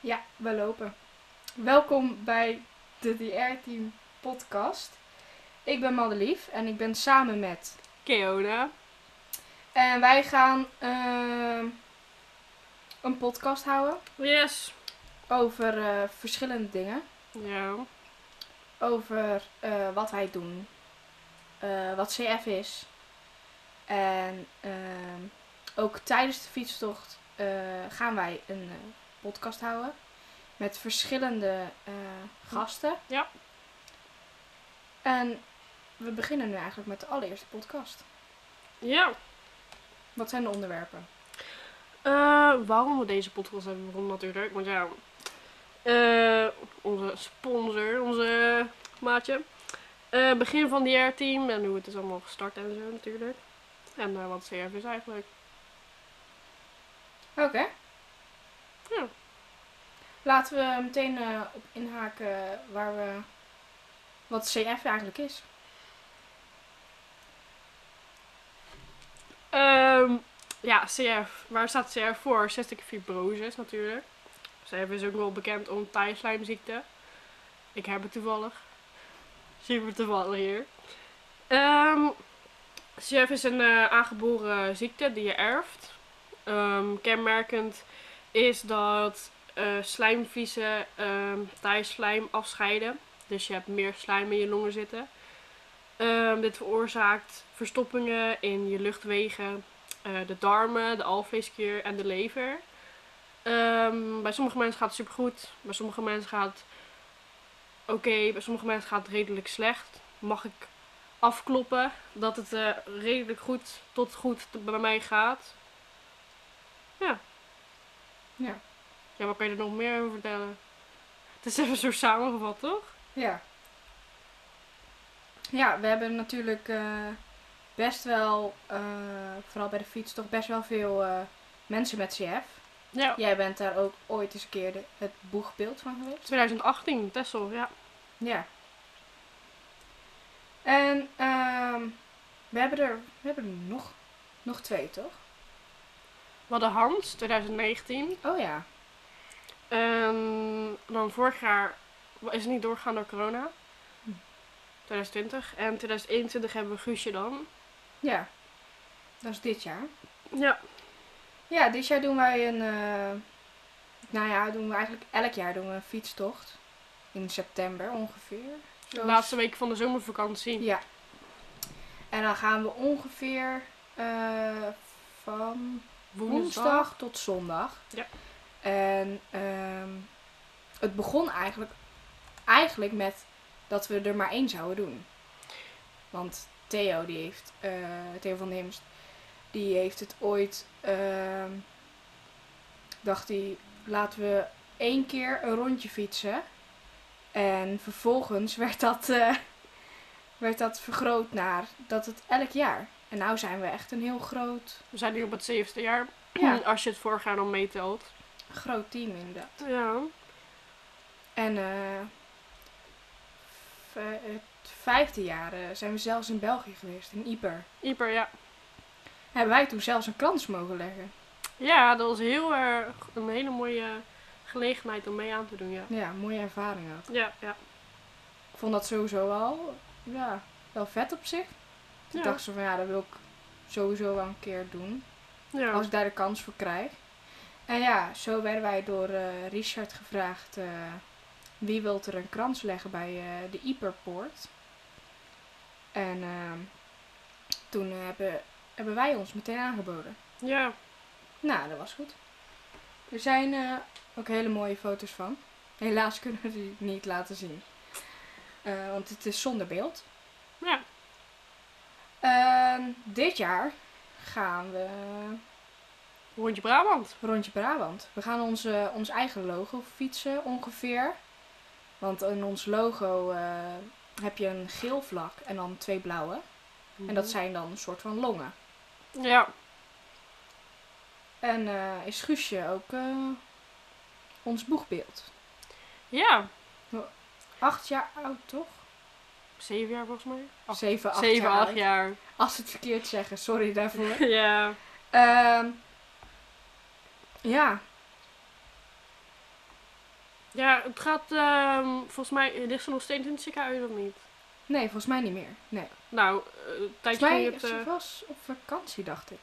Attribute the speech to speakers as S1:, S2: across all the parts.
S1: Ja, we lopen. Welkom bij de DR Team podcast. Ik ben Madelief en ik ben samen met...
S2: Keona.
S1: En wij gaan ehm, een podcast houden
S2: Yes.
S1: over eh, verschillende dingen.
S2: Ja.
S1: Over eh, wat wij doen, eh, wat CF is en ehm, ook tijdens de fietstocht eh, gaan wij een eh, podcast houden met verschillende eh, gasten.
S2: Ja.
S1: En we beginnen nu eigenlijk met de allereerste podcast.
S2: Ja.
S1: Wat zijn de onderwerpen?
S2: Eh, waarom we deze podcast hebben begonnen natuurlijk. Want ja, eh, onze sponsor, onze maatje. Eh, begin van het team en hoe het is allemaal gestart en zo natuurlijk. En eh, wat CRF is eigenlijk.
S1: Oké.
S2: Ja.
S1: Laten we meteen eh, op inhaken waar we wat CF eigenlijk is.
S2: Ehm, ja, CRF. Waar staat CRF voor? Cystic fibrosis natuurlijk. CRF is ook wel bekend om tijdslijmziekte. Ik heb het toevallig. Super toevallig hier. Ehm CRF is een eh, aangeboren ziekte die je erft. Ehm, kenmerkend is dat eh slijmvliezen ehm tijdslijm afscheiden. Dus je hebt meer slijm in je longen zitten. Ehm, dit veroorzaakt verstoppingen in je luchtwegen, eh, de darmen, de alveesklier en de lever. Ehm, bij sommige mensen gaat het supergoed, bij sommige mensen gaat het oké, bij sommige mensen gaat het redelijk slecht. Mag ik afkloppen dat het eh, redelijk goed tot goed t- bij mij gaat? Ja.
S1: Ja.
S2: Ja, wat kan je er nog meer over vertellen? Het is even zo samengevat, toch?
S1: Ja. Ja, we hebben natuurlijk eh, best wel, eh, vooral bij de fiets, toch best wel veel eh, mensen met CF.
S2: Ja.
S1: Jij bent daar ook ooit eens een keer de- het boegbeeld van geweest.
S2: 2018, Tessel, ja.
S1: Ja. En ehm, we hebben er, we hebben er nog, nog twee, toch?
S2: We hadden Hans, 2019.
S1: Oh ja.
S2: En Ehm, dan vorig jaar is het niet doorgegaan door corona.
S1: Hm.
S2: 2020. En 2021 hebben we Guusje dan.
S1: Ja. Dat is dit jaar.
S2: Ja.
S1: Ja, dit jaar doen wij een. eh, nou ja, doen we eigenlijk elk jaar doen we een fietstocht. In september ongeveer.
S2: De
S1: Zo.
S2: laatste week van de zomervakantie.
S1: Ja. En dan gaan we ongeveer eh, van woensdag tot zondag.
S2: Ja.
S1: En ehm, het begon eigenlijk, eigenlijk met dat we er maar één zouden doen. Want Theo, die heeft, eh, Theo van Himst, die heeft het ooit, ehm, dacht hij, laten we één keer een rondje fietsen. En vervolgens werd dat, eh, werd dat vergroot naar dat het elk jaar. En nou zijn we echt een heel groot,
S2: We zijn nu op het zevende jaar.
S1: Ja.
S2: Als je het vorig jaar dan meetelt.
S1: groot team inderdaad.
S2: Ja.
S1: En eh, v- het vijfde jaar eh, zijn we zelfs in België geweest, in Ieper.
S2: Ieper, ja.
S1: Hebben wij toen zelfs een krans mogen leggen.
S2: Ja, dat was heel erg een hele mooie gelegenheid om mee aan te doen, ja.
S1: Ja, mooie ervaring had.
S2: Ja, ja.
S1: Ik vond dat sowieso al ja, wel vet op zich.
S2: Ja.
S1: Ik dacht zo van ja, dat wil ik sowieso wel een keer doen.
S2: ja.
S1: Als ik daar de kans voor krijg. En ja, zo werden wij door eh, Richard gevraagd eh, wie wil er een krans leggen bij eh, de Iperpoort. En ehm, toen eh, hebben, hebben wij ons meteen aangeboden.
S2: ja.
S1: Nou, dat was goed. Er zijn eh, ook hele mooie foto's van. Helaas kunnen we die niet laten zien. Eh, want het is zonder beeld.
S2: Ja.
S1: En dit jaar gaan we
S2: Rondje Brabant.
S1: Rondje Brabant. We gaan ons, eh, ons eigen logo fietsen ongeveer. Want in ons logo eh, heb je een geel vlak en dan twee blauwe. En
S2: Mhm.
S1: dat zijn dan een soort van longen.
S2: Ja.
S1: En eh, is Guusje ook eh, ons boegbeeld.
S2: Ja.
S1: Acht jaar oud, toch?
S2: Zeven jaar volgens mij. Acht-
S1: Zeven, acht
S2: Zeven,
S1: jaar
S2: acht
S1: oud.
S2: jaar.
S1: Als ze het verkeerd zeggen, sorry daarvoor.
S2: ja.
S1: Ehm, ja.
S2: Ja, het gaat, ehm, volgens mij, ligt ze nog steeds in het ziekenhuis of niet?
S1: Nee, volgens mij niet meer. Nee.
S2: Nou, eh, een
S1: Volgens
S2: tijdje
S1: mij
S2: geleden...
S1: ze
S2: heb je- eh,
S1: was op vakantie, dacht ik.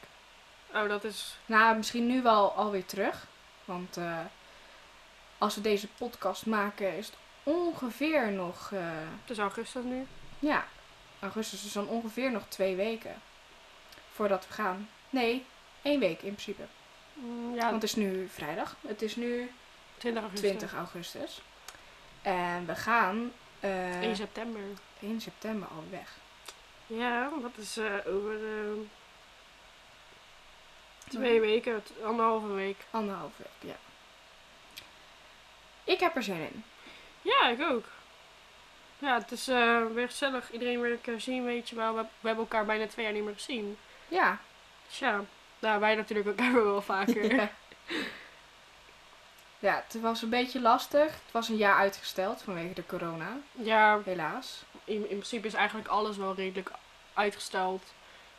S2: Oh, dat is...
S1: Nou, misschien nu wel alweer terug. Want eh, als we deze podcast maken, is het ongeveer nog. eh,
S2: Het is augustus nu.
S1: ja, augustus is dan ongeveer nog twee weken. Voordat we gaan. Nee, één week in principe.
S2: Mm, Ja,
S1: Want het is nu vrijdag. Het is nu
S2: 20 augustus.
S1: 20 augustus. En we gaan eh,
S2: 1 september.
S1: 1 september al weg.
S2: Ja, dat is eh, over ehm, twee weken, t- anderhalve week.
S1: Anderhalf week, ja. Ik heb er zin in.
S2: Ja, ik ook. Ja, het is eh, weer gezellig. Iedereen weer een keer zien, weet je wel. We, we hebben elkaar bijna twee jaar niet meer gezien.
S1: Ja.
S2: Dus ja, nou, wij natuurlijk elkaar wel vaker.
S1: Ja. Ja, het was een beetje lastig. Het was een jaar uitgesteld vanwege de corona,
S2: Ja,
S1: helaas.
S2: in, in principe is eigenlijk alles wel redelijk uitgesteld.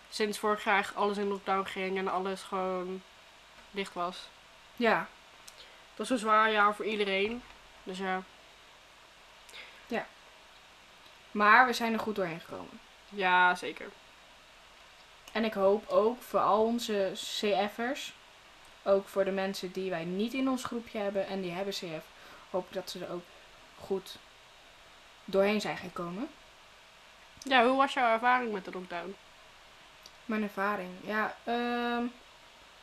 S2: Sinds vorig jaar echt alles in lockdown ging en alles gewoon dicht was.
S1: Ja,
S2: Het was een zwaar jaar voor iedereen. Dus ja,
S1: maar we zijn er goed doorheen gekomen.
S2: ja zeker.
S1: En ik hoop ook voor al onze CF'ers, ook voor de mensen die wij niet in ons groepje hebben en die hebben CF, hoop ik dat ze er ook goed doorheen zijn gekomen.
S2: Ja, hoe was jouw ervaring met de lockdown?
S1: Mijn ervaring, ja, ehm,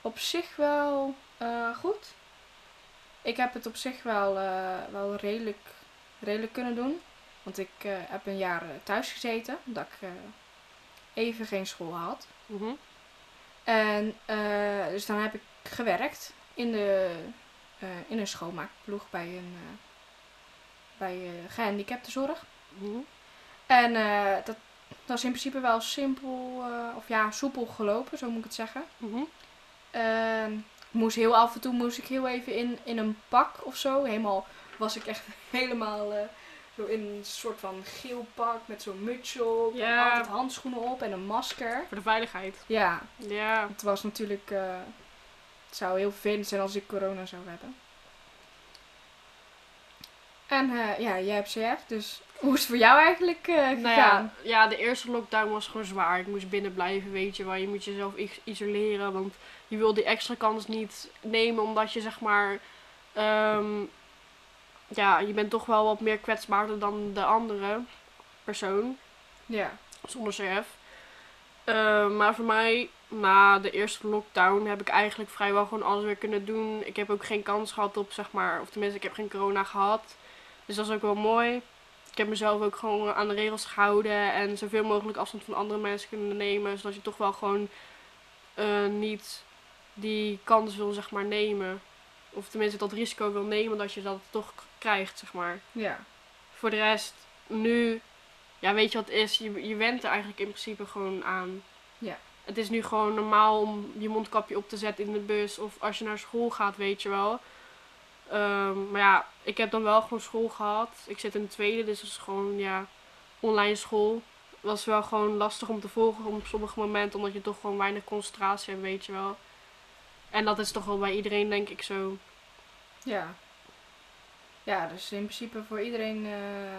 S1: op zich wel eh, goed. Ik heb het op zich wel, eh, wel redelijk, redelijk kunnen doen. Want ik eh, heb een jaar eh, thuis gezeten, omdat ik eh, even geen school had.
S2: Mhm.
S1: En eh, dus dan heb ik gewerkt in, de, eh, in een schoonmaakploeg bij een eh bij, eh, gehandicaptenzorg.
S2: Mhm.
S1: En eh, dat, dat is in principe wel simpel, eh, of ja, soepel gelopen, zo moet ik het zeggen.
S2: Mhm.
S1: Ehm, ik moest heel af en toe moest ik heel even in, in een pak of zo. Helemaal was ik echt helemaal eh, zo in een soort van geel pak met zo'n muts op. En
S2: Ja.
S1: altijd handschoenen op en een masker.
S2: Voor de veiligheid.
S1: Ja,
S2: Ja.
S1: het was natuurlijk. eh, het zou heel vervelend zijn als ik corona zou hebben. En eh, ja, jij hebt CF, dus hoe is het voor jou eigenlijk eh gegaan?
S2: Nou ja, ja, de eerste lockdown was gewoon zwaar. Ik moest binnen blijven, weet je wel. Je moet jezelf is- isoleren, want je wil die extra kans niet nemen, omdat je zeg maar... ehm, ja, je bent toch wel wat meer kwetsbaarder dan de andere persoon,
S1: ja.
S2: zonder CF. Ehm, maar voor mij, na de eerste lockdown, heb ik eigenlijk vrijwel gewoon alles weer kunnen doen. Ik heb ook geen kans gehad op, zeg maar... Of tenminste, ik heb geen corona gehad. Dus dat is ook wel mooi. Ik heb mezelf ook gewoon aan de regels gehouden en zoveel mogelijk afstand van andere mensen kunnen nemen. Zodat je toch wel gewoon eh, niet die kans wil, zeg maar, nemen. Of tenminste dat risico wil nemen dat je dat toch k- krijgt, zeg maar.
S1: Ja,
S2: Voor de rest, nu, ja, weet je wat het is? Je, je went er eigenlijk in principe gewoon aan.
S1: Ja.
S2: Het is nu gewoon normaal om je mondkapje op te zetten in de bus of als je naar school gaat, weet je wel. Ehm, maar ja, ik heb dan wel gewoon school gehad. Ik zit in de tweede, dus dat is gewoon, ja, online school. Was wel gewoon lastig om te volgen op sommige momenten, omdat je toch gewoon weinig concentratie hebt, weet je wel. En dat is toch wel bij iedereen, denk ik, zo.
S1: ja. Ja, dus in principe voor iedereen eh,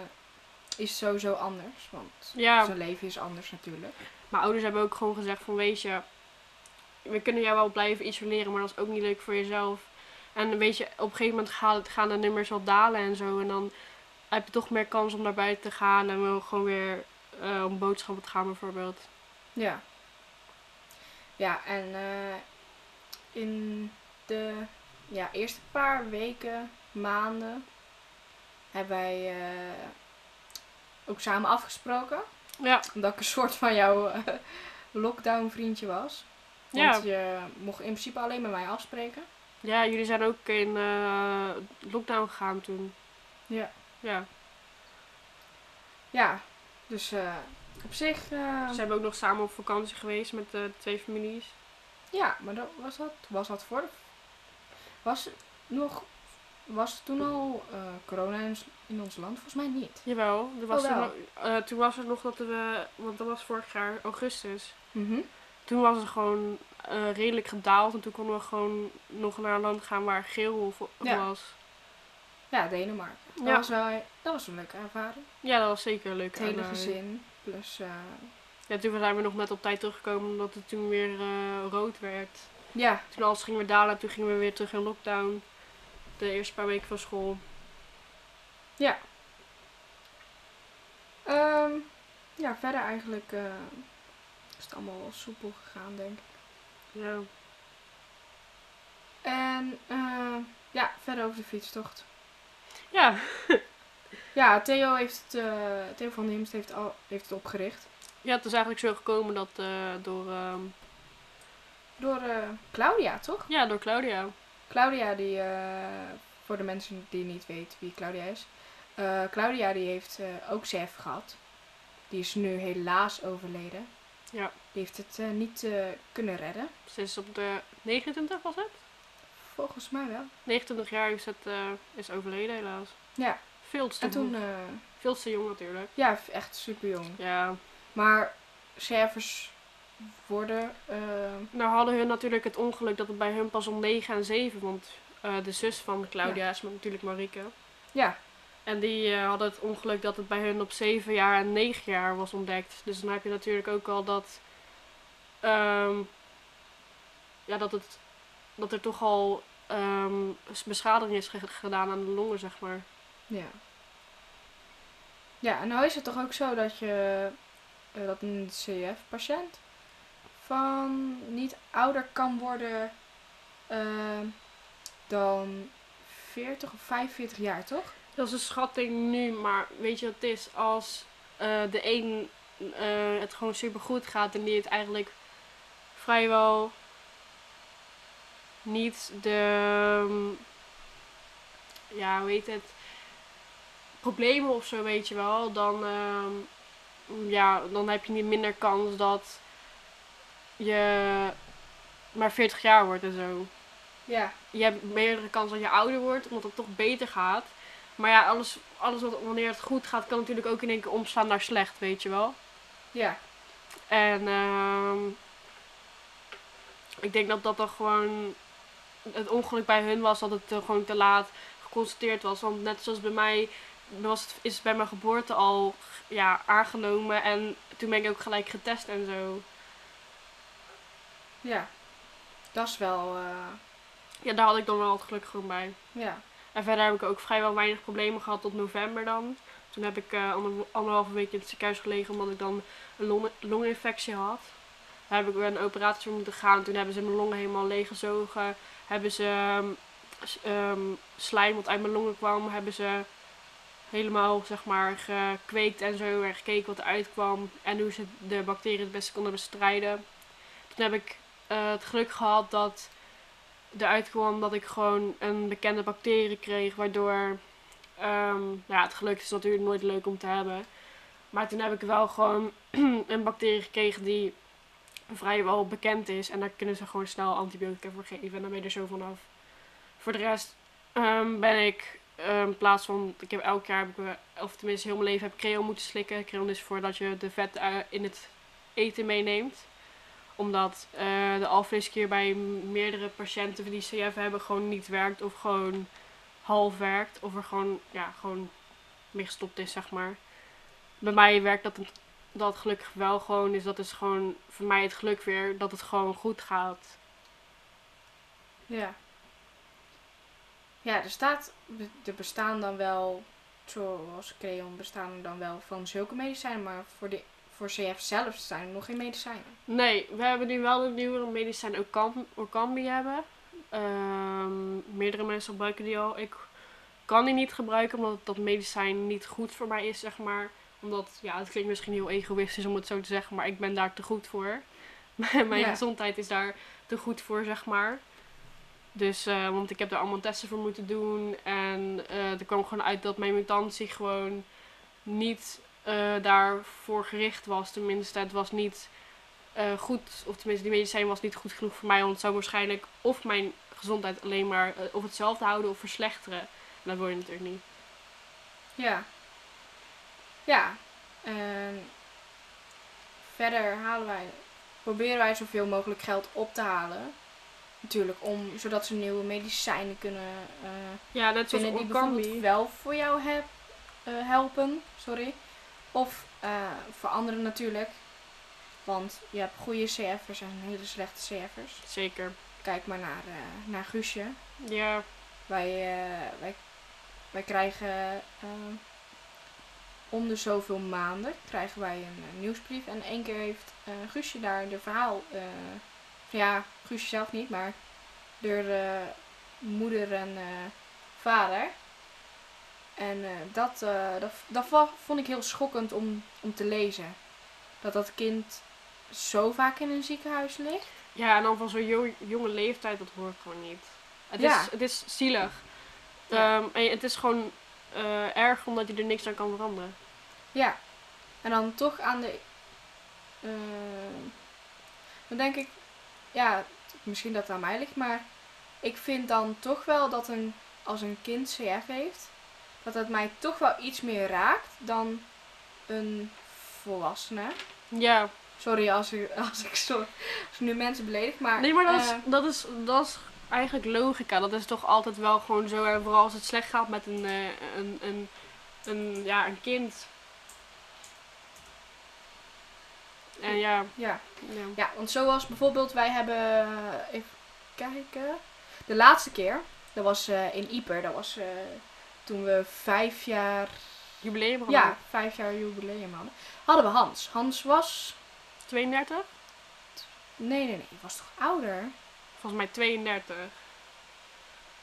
S1: is het sowieso anders. Want
S2: Ja.
S1: zijn leven is anders natuurlijk.
S2: Mijn ouders hebben ook gewoon gezegd van weet je, we kunnen jou wel blijven isoleren, maar dat is ook niet leuk voor jezelf. En weet je, op een gegeven moment gaan, gaan de nummers wel dalen en zo. En dan heb je toch meer kans om naar buiten te gaan en wel gewoon weer eh, om boodschappen te gaan bijvoorbeeld.
S1: Ja. Ja, en eh, in de ja, eerste paar weken, maanden, hebben wij eh, ook samen afgesproken.
S2: Ja,
S1: Omdat ik een soort van jouw eh, lockdown vriendje was.
S2: ja.
S1: Want je mocht in principe alleen met mij afspreken.
S2: ja jullie zijn ook in eh, lockdown gegaan toen.
S1: Ja.
S2: Ja.
S1: Ja, dus eh, op zich. eh,
S2: Ze hebben ook nog samen op vakantie geweest met de twee families.
S1: ja, maar dat, was, dat, was dat voor de. Was het nog. Was toen al eh, corona in, ons- in ons land? Volgens mij niet.
S2: Jawel, er was
S1: Oh,
S2: toen
S1: wel.
S2: nog- eh, toen was er nog dat we, want dat was vorig jaar augustus.
S1: Mhm.
S2: Toen was het gewoon eh, redelijk gedaald en toen konden we gewoon nog naar een land gaan waar geel vo-
S1: Ja.
S2: was.
S1: Ja, Denemarken. Dat,
S2: Ja.
S1: was wel, dat was een leuke ervaring.
S2: Ja, dat was zeker leuk.
S1: Het hele
S2: En, eh,
S1: gezin. Plus, eh,
S2: ja, toen zijn we nog net op tijd teruggekomen omdat het toen weer eh, rood werd.
S1: ja,
S2: Toen alles ging weer dalen, toen gingen we weer terug in lockdown. De eerste paar weken van school.
S1: ja. Ehm, ja, verder eigenlijk eh, is het allemaal wel soepel gegaan, denk ik.
S2: Ja.
S1: En eh, ja, verder over de fietstocht.
S2: Ja,
S1: Ja, Theo, heeft het, eh, Theo van Himst heeft, al, heeft het opgericht.
S2: ja het is eigenlijk zo gekomen dat eh, door, ehm,
S1: Door eh, Claudia, toch?
S2: ja, door Claudia.
S1: Claudia, die, eh, voor de mensen die niet weten wie Claudia is. eh, Claudia die heeft eh, ook CF gehad. Die is nu helaas overleden.
S2: Ja.
S1: Die heeft het eh, niet eh, kunnen redden.
S2: Ze is op de 29 was het?
S1: Volgens mij wel.
S2: 29 jaar is, het, eh, is overleden helaas.
S1: Ja,
S2: Veel te,
S1: en toen,
S2: vroeg.
S1: eh,
S2: Veel te jong natuurlijk.
S1: ja, echt super jong.
S2: Ja,
S1: Maar servers worden, eh,
S2: Nou hadden hun natuurlijk het ongeluk dat het bij hun pas om 9 en 7, want eh, de zus van Claudia is natuurlijk Marieke.
S1: ja,
S2: En die eh, hadden het ongeluk dat het bij hun op 7 jaar en 9 jaar was ontdekt. Dus dan heb je natuurlijk ook al dat. ehm, ja, dat, het, dat er toch al ehm, s- beschadiging is ge- gedaan aan de longen, zeg maar.
S1: ja. Ja, en nou is het toch ook zo dat je, eh, dat een CF-patiënt van niet ouder kan worden eh, dan 40 of 45 jaar, toch?
S2: Dat is een schatting nu, maar weet je wat het is? Als eh, de een eh, het gewoon super goed gaat en die het eigenlijk vrijwel niet de. mm, Ja, hoe heet het? Problemen of zo, weet je wel. Dan, ehm, ja, dan heb je niet minder kans dat je maar 40 jaar wordt en zo
S1: Ja,
S2: je hebt meerdere kans dat je ouder wordt, omdat het toch beter gaat. Maar ja, alles, alles wat wanneer het goed gaat, kan natuurlijk ook in één keer omslaan naar slecht, weet je wel.
S1: ja,
S2: En ehm, ik denk dat dat dan gewoon het ongeluk bij hun was dat het eh, gewoon te laat geconstateerd was. Want net zoals bij mij was het, is het bij mijn geboorte al ja, aangenomen en toen ben ik ook gelijk getest en zo.
S1: ja. Dat is wel, eh,
S2: Ja, daar had ik dan wel het geluk gewoon bij.
S1: ja,
S2: En verder heb ik ook vrijwel weinig problemen gehad tot november dan. Toen heb ik eh, ander, anderhalve week in het ziekenhuis gelegen omdat ik dan een long, longinfectie had. Daar heb ik weer een operatie voor moeten gaan. Toen hebben ze mijn longen helemaal leeggezogen. Hebben ze ehm, s- ehm, slijm wat uit mijn longen kwam, hebben ze helemaal zeg maar gekweekt en zo. En gekeken wat eruit kwam en hoe ze de bacteriën het beste konden bestrijden. Toen heb ik eh, het geluk gehad dat eruit kwam dat ik gewoon een bekende bacterie kreeg, waardoor ehm, nou ja, het geluk is natuurlijk nooit leuk om te hebben. Maar toen heb ik wel gewoon een bacterie gekregen die vrijwel bekend is. En daar kunnen ze gewoon snel antibiotica voor geven. En dan ben je er zo vanaf. Voor de rest ehm, ben ik ehm, in plaats van. Ik heb elk jaar, heb ik, eh, of tenminste heel mijn leven, heb ik creon moeten slikken. Creon is voordat je de vet eh, in het eten meeneemt omdat eh, de alvleesklier bij m- meerdere patiënten die CF hebben gewoon niet werkt of gewoon half werkt. Of er gewoon, ja, gewoon mee gestopt is, zeg maar. Bij mij werkt dat, dat gelukkig wel gewoon. Dus dat is gewoon voor mij het geluk weer dat het gewoon goed gaat.
S1: ja. Ja, er staat, er bestaan dan wel, zoals Creon bestaan er dan wel van zulke medicijnen, maar voor, de, voor CF zelf zijn er nog geen medicijnen.
S2: Nee, we hebben nu wel de nieuwe medicijn Orcam- Orkambi hebben. Ehm, meerdere mensen gebruiken die al. Ik kan die niet gebruiken omdat dat medicijn niet goed voor mij is, zeg maar. Omdat, ja, het klinkt misschien heel egoïstisch om het zo te zeggen, maar ik ben daar te goed voor. Mijn
S1: Ja.
S2: gezondheid is daar te goed voor, zeg maar. Dus, eh, want ik heb daar allemaal testen voor moeten doen. En eh, er kwam gewoon uit dat mijn mutantie gewoon niet eh, daarvoor gericht was. Tenminste, het was niet eh, goed, of tenminste, die medicijn was niet goed genoeg voor mij. Want het zou waarschijnlijk of mijn gezondheid alleen maar eh, of hetzelfde houden of verslechteren. En dat wil je natuurlijk niet.
S1: Ja. Ja. En verder halen wij, proberen wij zoveel mogelijk geld op te halen. Natuurlijk, om, zodat ze nieuwe medicijnen kunnen eh,
S2: Ja, net zoals
S1: vinden die bijvoorbeeld
S2: Orkambi.
S1: wel voor jou heb, eh, helpen. Sorry. Of eh, voor anderen natuurlijk. Want je hebt goede CF'ers en hele slechte CF'ers.
S2: Zeker.
S1: Kijk maar naar, eh, naar Guusje.
S2: Ja,
S1: Wij, eh, wij, wij krijgen eh, om de zoveel maanden krijgen wij een eh, nieuwsbrief. En één keer heeft eh, Guusje daar de verhaal. eh, ja, Guusje zelf niet, maar door eh, moeder en eh, vader. En eh, dat, eh, dat, dat va- vond ik heel schokkend om, om te lezen. Dat dat kind zo vaak in een ziekenhuis ligt.
S2: ja en dan van zo'n jo- jonge leeftijd, dat hoort gewoon niet. Het,
S1: Ja.
S2: is, het is zielig.
S1: Ja.
S2: Ehm, en je- het is gewoon eh, erg omdat je er niks aan kan veranderen.
S1: Ja. En dan toch aan de. eh, dan denk ik, ja, t- misschien dat het aan mij ligt, maar ik vind dan toch wel dat een, als een kind CF heeft, dat het mij toch wel iets meer raakt dan een volwassene.
S2: Ja,
S1: Sorry als ik, als ik, zo, als ik nu mensen beledig, maar.
S2: nee, maar dat is,
S1: eh,
S2: dat, is, dat is eigenlijk logica. Dat is toch altijd wel gewoon zo. En vooral als het slecht gaat met een, eh, een, een, een, ja, een kind. En ja,
S1: ja.
S2: ja.
S1: Ja, want zoals bijvoorbeeld wij hebben, eh, even kijken, de laatste keer, dat was eh, in Ieper, dat was eh, toen we vijf jaar,
S2: jubileum hadden
S1: ja, vijf jaar jubileum hadden, hadden we Hans. Hans was,
S2: we 32?
S1: nee nee nee, hij was toch ouder?
S2: Volgens mij 32.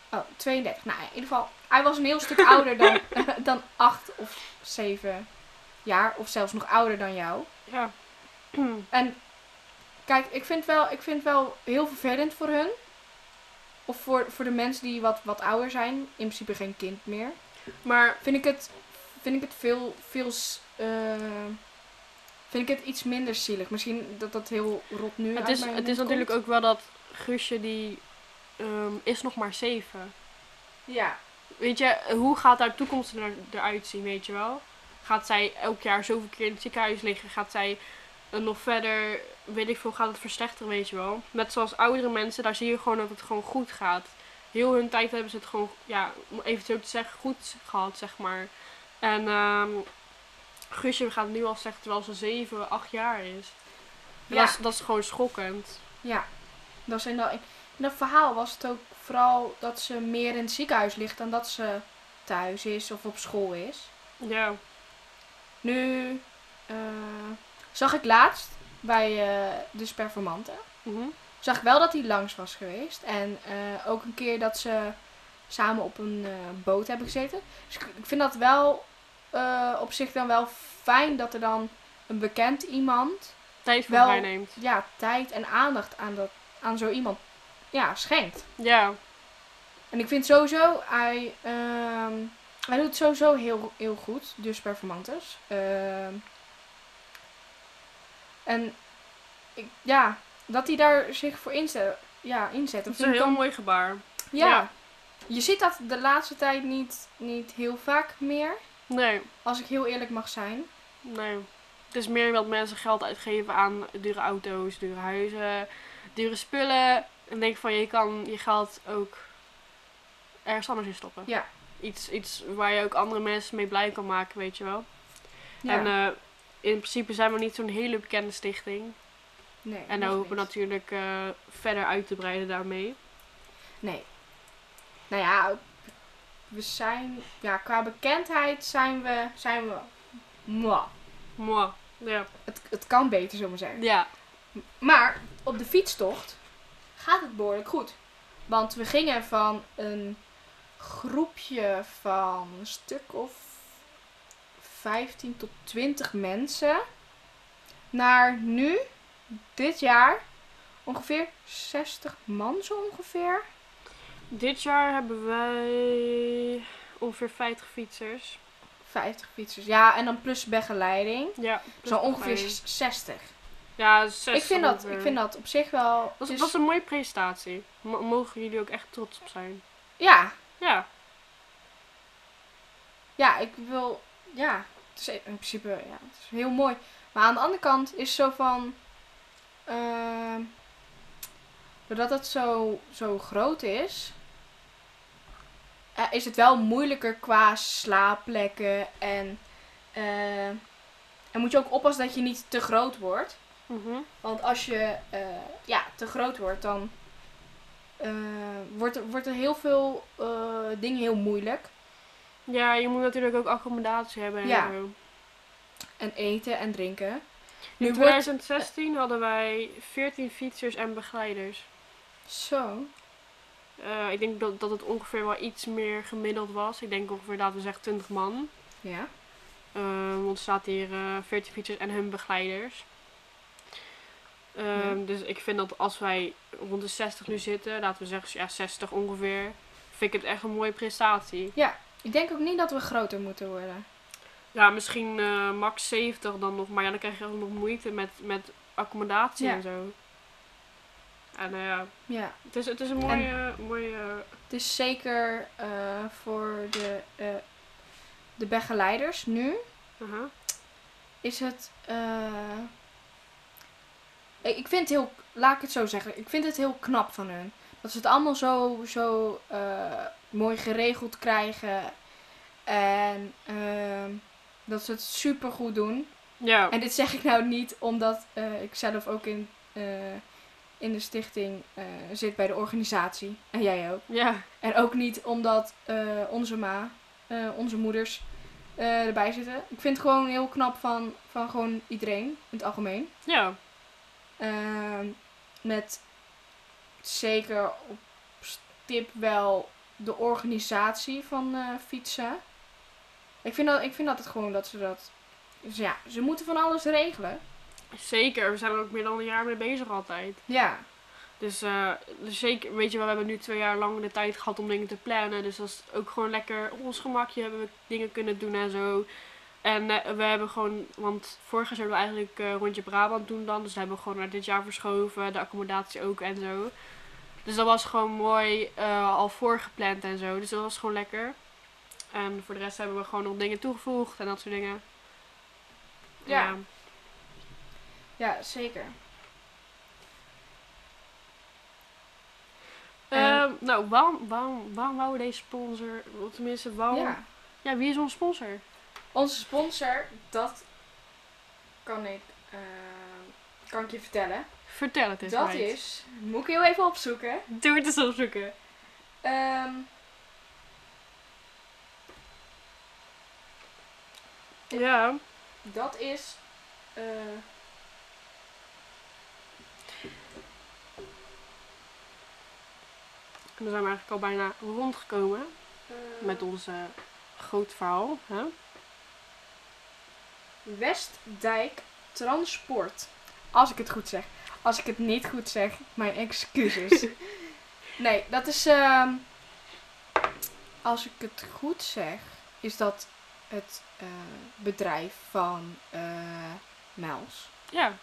S1: Oh, 32. Nou, in ieder geval, hij was een heel stuk ouder dan, dan acht of zeven jaar, of zelfs nog ouder dan jou.
S2: Ja.
S1: En kijk, ik vind wel, ik vind wel heel vervelend voor hun. Of voor, voor de mensen die wat, wat ouder zijn, in principe geen kind meer.
S2: Maar
S1: Vind ik het, vind ik het veel, veel s- eh, vind ik het iets minder zielig. Misschien dat dat heel rot nu
S2: het
S1: uit
S2: is,
S1: mijn
S2: het
S1: mond
S2: is natuurlijk
S1: komt.
S2: ook wel dat Guusje die ehm, is nog maar 7.
S1: Ja,
S2: Weet je, hoe gaat haar toekomst er, eruit zien, weet je wel? Gaat zij elk jaar zoveel keer in het ziekenhuis liggen? Gaat zij eh, nog verder, weet ik veel, gaat het verslechteren, weet je wel? Net zoals oudere mensen, daar zie je gewoon dat het gewoon goed gaat. Heel hun tijd hebben ze het gewoon, ja, om even zo te zeggen, goed gehad, zeg maar. En ehm Guusje gaat nu al zeggen terwijl ze 7, 8 jaar is. En
S1: Ja.
S2: Dat, is, dat is gewoon schokkend.
S1: ja. Dat is in dat, in dat verhaal was het ook vooral dat ze meer in het ziekenhuis ligt dan dat ze thuis is of op school is.
S2: Ja.
S1: Nu eh, zag ik laatst bij eh de Sperformanten.
S2: Mhm.
S1: Zag ik wel dat hij langs was geweest. En eh, ook een keer dat ze samen op een eh, boot hebben gezeten. Dus ik, ik vind dat wel eh, op zich dan wel fijn dat er dan een bekend iemand
S2: Tijd voor
S1: Wel-
S2: mij neemt.
S1: ja, tijd en aandacht aan, dat, aan zo iemand ja, schenkt.
S2: Ja.
S1: En ik vind sowieso, hij, ehm, hij doet het sowieso heel, heel goed, dus performantes. Ehm, en ik, ja, dat hij daar zich voor inzet, ja, inzet.
S2: Dat is
S1: vind
S2: een
S1: ik
S2: heel
S1: dan-
S2: mooi gebaar.
S1: ja.
S2: ja.
S1: Je ziet dat de laatste tijd niet, niet heel vaak meer,
S2: Nee.
S1: als ik heel eerlijk mag zijn.
S2: Nee. Het is meer dat mensen geld uitgeven aan dure auto's, dure huizen, dure spullen. En denk van je kan je geld ook ergens anders in stoppen.
S1: Ja.
S2: Iets, iets waar je ook andere mensen mee blij kan maken, weet je wel.
S1: Ja.
S2: En eh, in principe zijn we niet zo'n hele bekende stichting.
S1: nee,
S2: En
S1: nog
S2: dan hopen we
S1: niet.
S2: natuurlijk eh, verder uit te breiden daarmee.
S1: Nee. Nou ja, we zijn, ja, qua bekendheid zijn we, zijn we, mwah.
S2: Mooi. Ja.
S1: Het, het kan beter, zullen we zeggen.
S2: ja.
S1: Maar op de fietstocht gaat het behoorlijk goed. Want we gingen van een groepje van een stuk of 15 tot 20 mensen naar nu, dit jaar, ongeveer 60 man zo ongeveer.
S2: Dit jaar hebben wij ongeveer 50 fietsers.
S1: 50 fietsers. Ja, en dan plus begeleiding.
S2: Ja.
S1: Zo ongeveer
S2: Bij-
S1: 60.
S2: Ja, 60
S1: Ik vind, dat,
S2: ongeveer.
S1: ik vind dat op zich wel...
S2: Dat
S1: dus-
S2: was, was een mooie presentatie. Mo- mogen jullie ook echt trots op zijn?
S1: ja,
S2: Ja,
S1: ja, ik wil, ja, het is in principe, ja, het is heel mooi. Maar aan de andere kant is zo van, ehm, doordat het zo, zo groot is, eh, is het wel moeilijker qua slaapplekken. En, eh, en moet je ook oppassen dat je niet te groot wordt.
S2: Mhm.
S1: Want als je eh, ja, te groot wordt, dan eh, wordt, er, wordt er heel veel eh, dingen heel moeilijk.
S2: Ja, je moet natuurlijk ook accommodatie hebben. en
S1: Ja.
S2: zo.
S1: En eten en drinken.
S2: In
S1: Nu wordt
S2: 2016 hadden wij 14 fietsers en begeleiders.
S1: zo.
S2: Eh, ik denk dat, dat het ongeveer wel iets meer gemiddeld was. Ik denk ongeveer, laten we zeggen, 20 man.
S1: Ja.
S2: Ehm, want er staat hier eh 14 fietsers en hun begeleiders. Ehm, Dus ik vind dat als wij rond de 60 nu zitten, laten we zeggen ja, 60 ongeveer, vind ik het echt een mooie prestatie.
S1: Ik denk ook niet dat we groter moeten worden.
S2: Ja, misschien eh, max 70 dan nog, maar ja, dan krijg je ook nog moeite met, met accommodatie
S1: Ja.
S2: en zo. En nou ja,
S1: Ja.
S2: het is, het is een mooie, eh, mooie
S1: Het is zeker eh, voor de, eh, de begeleiders nu
S2: aha.
S1: is het. eh, ik ik vind het heel. Laat ik het zo zeggen. Ik vind het heel knap van hun. Dat ze het allemaal zo, zo eh, mooi geregeld krijgen. En ehm, dat ze het super goed doen.
S2: Ja,
S1: En dit zeg ik nou niet omdat eh, ik zelf ook in, eh, in de stichting eh, zit bij de organisatie. En jij ook.
S2: ja.
S1: En ook niet omdat eh, onze ma, eh, onze moeders eh, erbij zitten. Ik vind het gewoon heel knap van, van gewoon iedereen in het algemeen.
S2: ja.
S1: Ehm, met zeker op stip wel de organisatie van eh, fietsen. Ik vind, dat, ik vind dat het gewoon dat ze dat... Dus ja, ze moeten van alles regelen.
S2: Zeker, we zijn er ook meer dan een jaar mee bezig altijd.
S1: Ja,
S2: Dus, eh, dus zeker, weet je wel, we hebben nu twee jaar lang de tijd gehad om dingen te plannen. Dus dat is ook gewoon lekker op ons gemakje hebben we dingen kunnen doen en zo. En eh, we hebben gewoon, want vorig jaar zouden we eigenlijk eh, rondje Brabant doen dan. Dus dat hebben we gewoon naar dit jaar verschoven, de accommodatie ook en zo. Dus dat was gewoon mooi eh, al voorgepland en zo. Dus dat was gewoon lekker. En voor de rest hebben we gewoon nog dingen toegevoegd en dat soort dingen.
S1: Ja. ja zeker.
S2: Ehm, nou, waarom, waarom, waarom wouden we deze sponsor? of Tenminste, waarom?
S1: Ja.
S2: Ja, wie is onze sponsor?
S1: Onze sponsor, dat kan ik, eh, kan ik je vertellen.
S2: Vertel het eens.
S1: dat
S2: meid.
S1: is, moet ik heel even opzoeken.
S2: Doe het eens opzoeken.
S1: Ehm,
S2: Ja.
S1: dat is, eh,
S2: Dan zijn we eigenlijk al bijna rondgekomen
S1: eh,
S2: met ons eh, groot verhaal. Hè?
S1: Westdijk Transport. Als ik het goed zeg. Als ik het niet goed zeg, mijn excuses. nee, dat is, ehm, als ik het goed zeg, is dat het eh, bedrijf van eh Miles.
S2: Ja.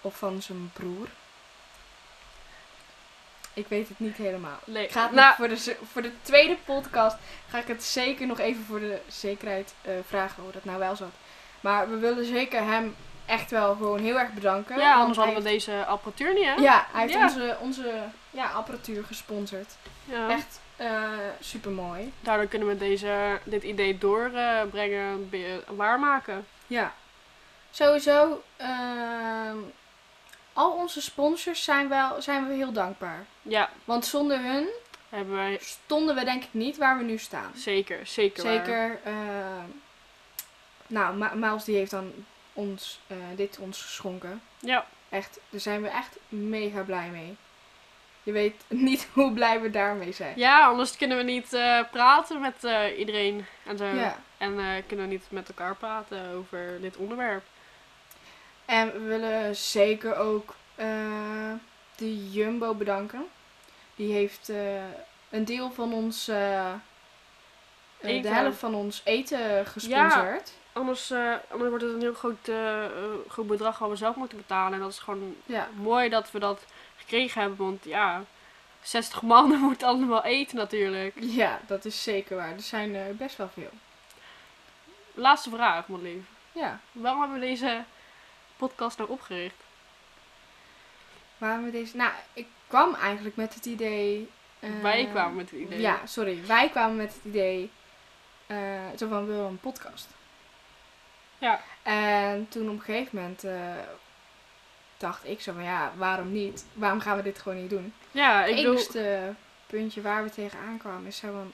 S1: Of van zijn broer. Ik weet het niet helemaal.
S2: Nee.
S1: Ik ga het nog
S2: nou,
S1: voor, de, z- voor de tweede podcast ga ik het zeker nog even voor de zekerheid eh, vragen hoe dat nou wel zat. Maar we willen zeker hem echt wel gewoon heel erg bedanken.
S2: ja,
S1: want
S2: anders hadden we
S1: hij
S2: deze apparatuur niet, hè?
S1: heeft- Ja, hij heeft
S2: Ja.
S1: onze, onze ja, apparatuur gesponsord.
S2: Ja.
S1: Echt eh, super mooi.
S2: Daardoor kunnen we deze, dit idee doorbrengen, waarmaken.
S1: Ja. Sowieso, ehm, al onze sponsors zijn, wel, zijn we heel dankbaar.
S2: Ja,
S1: Want zonder hun
S2: hebben wij
S1: stonden we denk ik niet waar we nu staan.
S2: zeker, zeker. waar.
S1: Zeker. eh, nou, Ma- Miles die heeft dan ons, eh, dit ons geschonken.
S2: Ja.
S1: Echt, daar zijn we echt mega blij mee. Je weet niet hoe blij we daarmee zijn.
S2: Ja, anders kunnen we niet eh, praten met eh, iedereen en zo.
S1: Ja.
S2: En eh, kunnen we niet met elkaar praten over dit onderwerp.
S1: En we willen zeker ook eh, de Jumbo bedanken. Die heeft eh, een deel van ons, eh, eh, de
S2: Eten.
S1: helft van ons eten gesponsord.
S2: Anders, eh, anders wordt het een heel groot, eh, eh, groot bedrag wat we zelf moeten betalen. En dat is gewoon
S1: Ja.
S2: mooi dat we dat gekregen hebben. Want ja, 60 man moet allemaal eten natuurlijk.
S1: ja. dat is zeker waar. Er zijn eh, best wel veel.
S2: Laatste vraag, mijn lief.
S1: Ja.
S2: Waarom hebben we deze podcast nou opgericht?
S1: Waarom we deze... Nou, ik kwam eigenlijk met het idee... eh,
S2: Wij kwamen met het idee.
S1: Ja, sorry. Wij kwamen met het idee... eh zo van, we willen een podcast.
S2: Ja.
S1: En toen op een gegeven moment... eh, dacht ik zo van, ja, waarom niet? Waarom gaan we dit gewoon niet doen?
S2: Ja,
S1: Het
S2: ik bedoel...
S1: enigste puntje waar we tegenaan kwamen is zo van...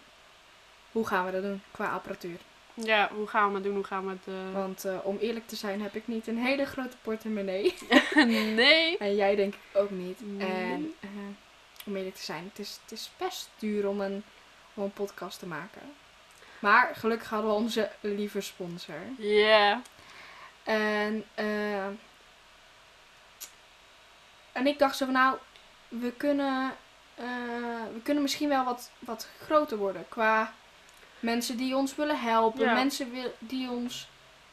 S1: Hoe gaan we dat doen qua apparatuur?
S2: Ja, hoe gaan we het doen? Hoe gaan we het... eh,
S1: Want eh, om eerlijk te zijn heb ik niet een hele grote portemonnee.
S2: nee.
S1: En jij denk ik ook niet.
S2: Nee.
S1: En eh, om eerlijk te zijn, het is, het is best duur om een, om een podcast te maken. Maar gelukkig hadden we onze lieve sponsor.
S2: Ja.
S1: En, eh, en ik dacht zo van nou, we kunnen, eh, we kunnen misschien wel wat, wat groter worden qua mensen die ons willen helpen,
S2: Ja.
S1: mensen wil- die ons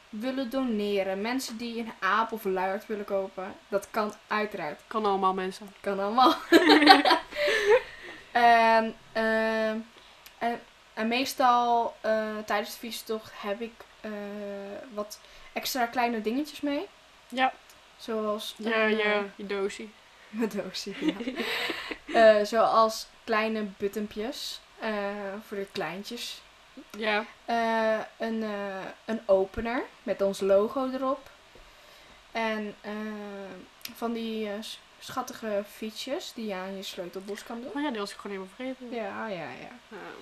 S1: willen doneren, mensen die een aap of een luiard willen kopen. Dat kan uiteraard,
S2: Kan allemaal mensen.
S1: kan allemaal. en, eh, en, en meestal eh, tijdens de fietstocht heb ik eh, wat extra kleine dingetjes mee.
S2: Ja.
S1: Zoals
S2: Ja,
S1: een,
S2: ja, je doosie.
S1: mijn doosje, ja. Eh, zoals kleine buttempjes eh, voor de kleintjes.
S2: Ja.
S1: Eh, een, eh, een opener met ons logo erop. En eh, van die eh, s- schattige fietsjes die je aan je sleutelbos kan doen.
S2: Oh ja, die was ik gewoon helemaal vergeten.
S1: Ja, ja, ja.
S2: Nou,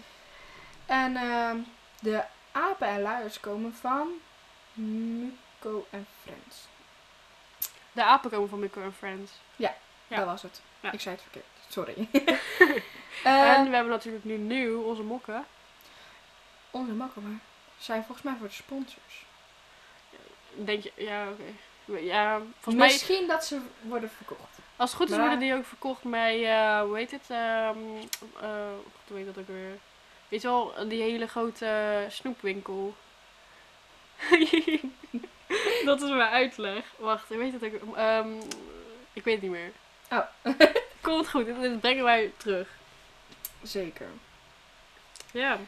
S1: En ehm, de apen en luiers komen van Muco en Friends.
S2: De apen komen van Mikko en Friends. Ja.
S1: Dat was het.
S2: Ja.
S1: Ik zei het verkeerd. Sorry. Eh,
S2: en we hebben natuurlijk nu nieuw onze mokken.
S1: Onze makkelaar zijn volgens mij voor de sponsors.
S2: Denk je, ja, oké. Ja, volgens mij,
S1: Misschien dat ze worden verkocht.
S2: als het goed is,
S1: Maar-
S2: worden die ook verkocht bij, eh, hoe heet het? ehm eh, god, hoe heet dat ook weer? Weet je wel, die hele grote snoepwinkel. dat is mijn uitleg. Wacht, ik weet het ook. weer. Ehm, ik weet het niet meer.
S1: Oh.
S2: Komt goed, dit, dit brengen wij terug.
S1: Zeker.
S2: Ja.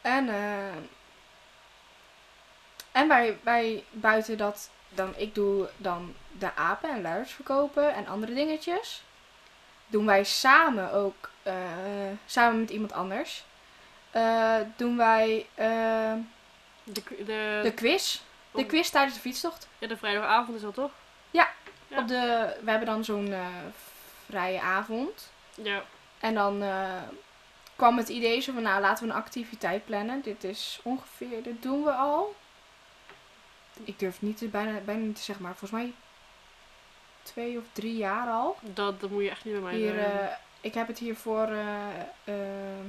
S1: En, eh, en wij, wij buiten dat dan ik doe dan de apen en luiers verkopen en andere dingetjes. Doen wij samen ook, eh, samen met iemand anders, eh, doen wij eh,
S2: De, de,
S1: de quiz. De quiz tijdens de fietstocht.
S2: Ja, de vrijdagavond is dat toch? Ja.
S1: Op de, we hebben dan zo'n eh, vrije avond.
S2: Ja.
S1: En dan eh, kwam het idee zo van, nou laten we een activiteit plannen. Dit is ongeveer, dit doen we al. Ik durf niet te, bijna, bijna niet te zeggen, maar volgens mij twee of drie jaar al.
S2: Dat, dat moet je echt niet bij mij
S1: Hier,
S2: doen.
S1: eh, ik heb het hier voor eh, eh,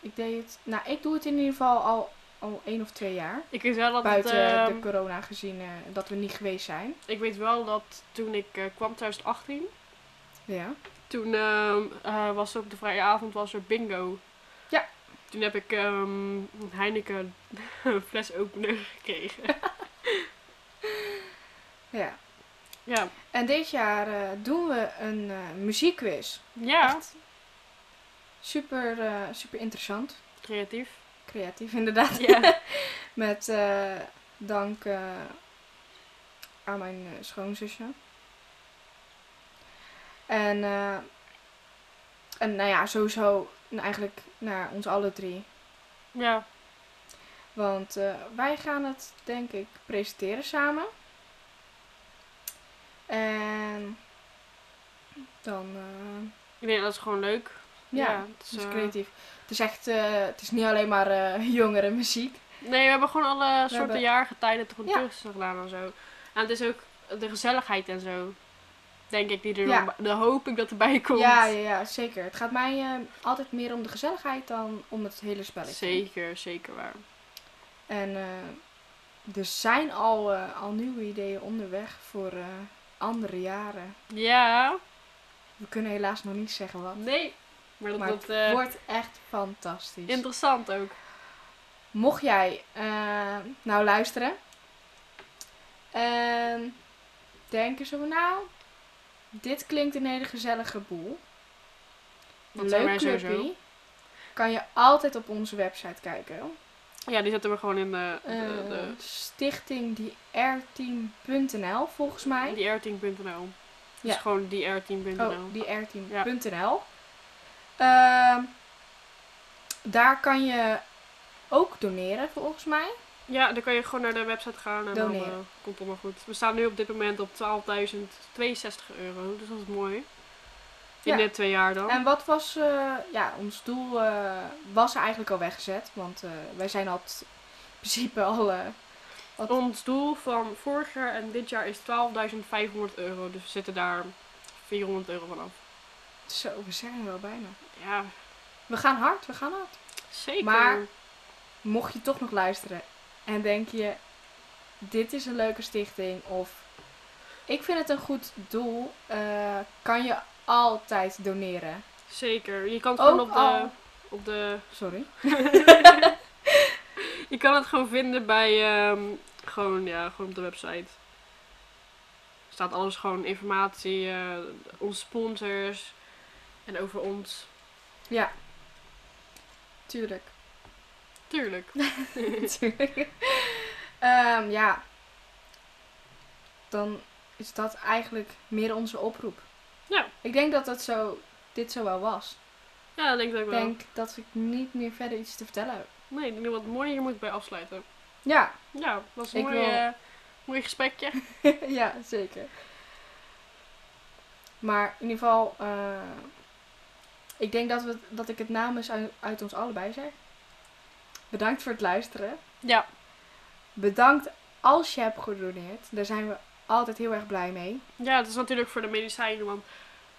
S1: ik deed het, nou ik doe het in ieder geval al, al één of twee jaar.
S2: Ik weet wel dat het,
S1: Buiten
S2: ehm,
S1: de corona gezien eh, dat we niet geweest zijn.
S2: Ik weet wel dat toen ik eh, kwam 2018,
S1: Ja.
S2: toen ehm, eh, was er op de vrije avond was er bingo.
S1: Ja.
S2: Toen heb ik ehm, een Heineken flesopener gekregen.
S1: Ja.
S2: Ja.
S1: En dit jaar eh, doen we een eh, muziekquiz.
S2: Ja.
S1: Echt super, eh, super interessant.
S2: Creatief.
S1: Creatief, inderdaad.
S2: Ja.
S1: Met eh, dank eh, aan mijn eh, schoonzusje. En, eh, en nou ja, sowieso nou, eigenlijk naar ons alle drie.
S2: Ja.
S1: Want eh, wij gaan het, denk ik, presenteren samen. En dan... eh,
S2: Ik denk dat is gewoon leuk.
S1: Ja,
S2: het is,
S1: Dus
S2: eh,
S1: creatief. Het is echt, eh, het is niet alleen maar eh jongere muziek.
S2: Nee, we hebben gewoon alle soorten
S1: hebben-
S2: jaargetijden toch
S1: Ja.
S2: terug gedaan en zo. En het is ook de gezelligheid en zo. Denk ik, die er
S1: Ja.
S2: dan, dan hoop ik dat erbij komt.
S1: Ja, ja, ja, zeker. Het gaat mij eh, altijd meer om de gezelligheid dan om het hele spelletje.
S2: Zeker, zeker waar.
S1: En eh, er zijn al, eh, al nieuwe ideeën onderweg voor eh, andere jaren.
S2: Ja.
S1: We kunnen helaas nog niet zeggen wat.
S2: Nee. Maar dat
S1: Maar
S2: wordt eh,
S1: Het wordt echt fantastisch.
S2: interessant ook.
S1: Mocht jij eh, nou luisteren en denken zo van nou, dit klinkt een hele gezellige boel.
S2: Dat zijn
S1: leuk
S2: wij sowieso.
S1: clubje. Kan je altijd op onze website kijken.
S2: Ja, die zetten we gewoon in de, de-
S1: Eh,
S2: de-
S1: Stichting die R10.nl volgens mij.
S2: die r10.nl.
S1: Ja.
S2: Dus gewoon die r10.nl.
S1: Oh, die R10.nl. Ehm, daar kan je ook doneren volgens mij.
S2: Ja, dan kan je gewoon naar de website gaan en dan
S1: Doneren.
S2: eh, komt het allemaal goed. We staan nu op dit moment op 12.062 euro, dus dat is mooi. In
S1: Ja.
S2: net twee jaar dan.
S1: En wat was, eh, ja, ons doel eh, was eigenlijk al weggezet. Want eh, wij zijn al t- in principe al. eh, wat-
S2: Ons doel van vorig jaar en dit jaar is 12.500 euro, dus we zitten daar 400 euro vanaf.
S1: zo, we zijn er wel bijna.
S2: Ja,
S1: We gaan hard, we gaan hard.
S2: zeker.
S1: Maar- Mocht je toch nog luisteren en denk je, dit is een leuke stichting of ik vind het een goed doel, eh, kan je altijd doneren.
S2: Zeker. Je kan het
S1: Ook
S2: gewoon op de,
S1: al-
S2: op de...
S1: Sorry.
S2: Je kan het gewoon vinden bij... ehm, gewoon, ja, gewoon op de website. Er staat alles gewoon informatie, eh, onze sponsors en over ons.
S1: Ja. Tuurlijk.
S2: Tuurlijk.
S1: Tuurlijk. Ehm, ja. Dan is dat eigenlijk meer onze oproep.
S2: Ja.
S1: Ik denk dat dat zo, dit zo wel was.
S2: Ja, dat denk ik ook
S1: Ik
S2: wel.
S1: denk dat ik niet meer verder iets te vertellen heb.
S2: Nee, ik denk dat we het mooi hier moeten bij afsluiten.
S1: Ja,
S2: Ja, dat was een
S1: Ik
S2: mooi,
S1: wil-
S2: eh, mooi gesprekje.
S1: ja zeker. Maar in ieder geval, eh, ik denk dat, we, dat ik het namens uit, uit ons allebei zeg. Bedankt voor het luisteren.
S2: Ja,
S1: Bedankt als je hebt gedoneerd. Daar zijn we altijd heel erg blij mee.
S2: ja het is natuurlijk voor de medicijnen, want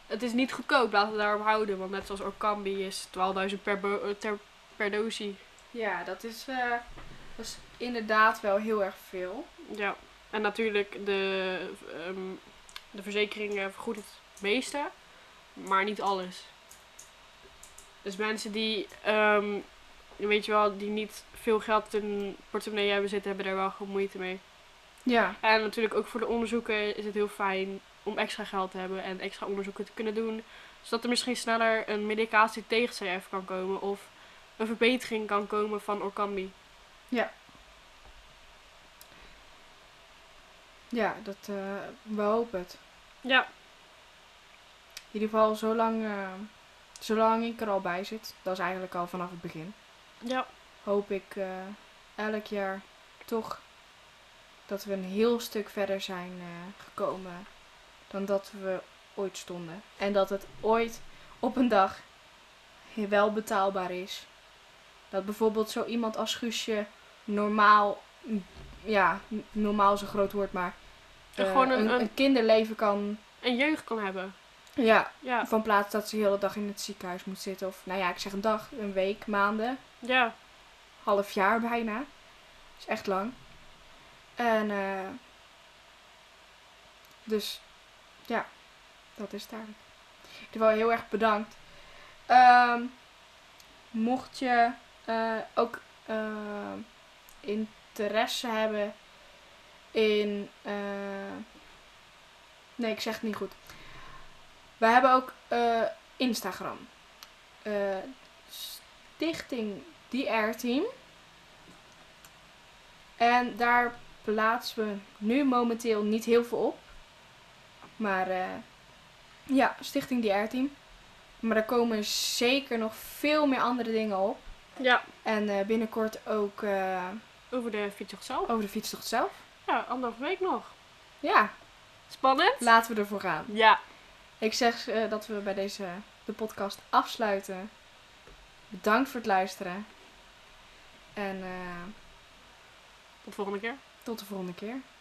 S2: het is niet goedkoop. Laten we daarop houden, want net zoals Orkambi is 12.000 per, bo- eh, ter- per dosie.
S1: Ja, dat is, eh, dat is inderdaad wel heel erg veel.
S2: Ja, en natuurlijk de, ehm, de verzekering eh, vergoedt het meeste, maar niet alles. Dus mensen die, ehm, weet je wel, die niet veel geld in hun portemonnee hebben zitten, hebben daar wel gewoon moeite mee.
S1: Ja.
S2: En natuurlijk ook voor de onderzoeken is het heel fijn om extra geld te hebben en extra onderzoeken te kunnen doen. Zodat er misschien sneller een medicatie tegen CF kan komen of een verbetering kan komen van Orkambi.
S1: Ja, dat, eh, we hopen het.
S2: Ja,
S1: In ieder geval, zolang, eh, zolang ik er al bij zit, dat is eigenlijk al vanaf het begin,
S2: ja,
S1: hoop ik eh, elk jaar toch dat we een heel stuk verder zijn eh, gekomen dan dat we ooit stonden. En dat het ooit op een dag wel betaalbaar is. Dat bijvoorbeeld zo iemand als Guusje normaal, mm, ja, n- normaal is een groot woord, maar eh,
S2: Gewoon een-
S1: een,
S2: een-
S1: een kinderleven kan,
S2: en jeugd kan hebben.
S1: ja,
S2: Ja,
S1: van plaats dat ze de hele dag in het ziekenhuis moet zitten. Of nou ja, ik zeg een dag, een week, maanden,
S2: ja.
S1: half jaar bijna. is echt lang. En eh dus ja, dat is het eigenlijk. In ieder geval heel erg bedankt. Ehm, mocht je eh, ook ehm, interesse hebben in. eh, nee, ik zeg het niet goed. We hebben ook eh, Instagram. Eh, Stichting DR Team. En daar plaatsen we nu momenteel niet heel veel op. Maar eh, ja, Stichting DR Team. Maar er komen zeker nog veel meer andere dingen op.
S2: Ja,
S1: En eh, binnenkort ook eh,
S2: over de fietstocht zelf.
S1: over de fietstocht zelf.
S2: Ja, anderhalf week nog.
S1: Ja,
S2: Spannend?
S1: laten we ervoor gaan.
S2: Ja.
S1: Ik zeg eh, dat we bij deze de podcast afsluiten. Bedankt voor het luisteren. En eh,
S2: Tot volgende keer.
S1: tot de volgende keer.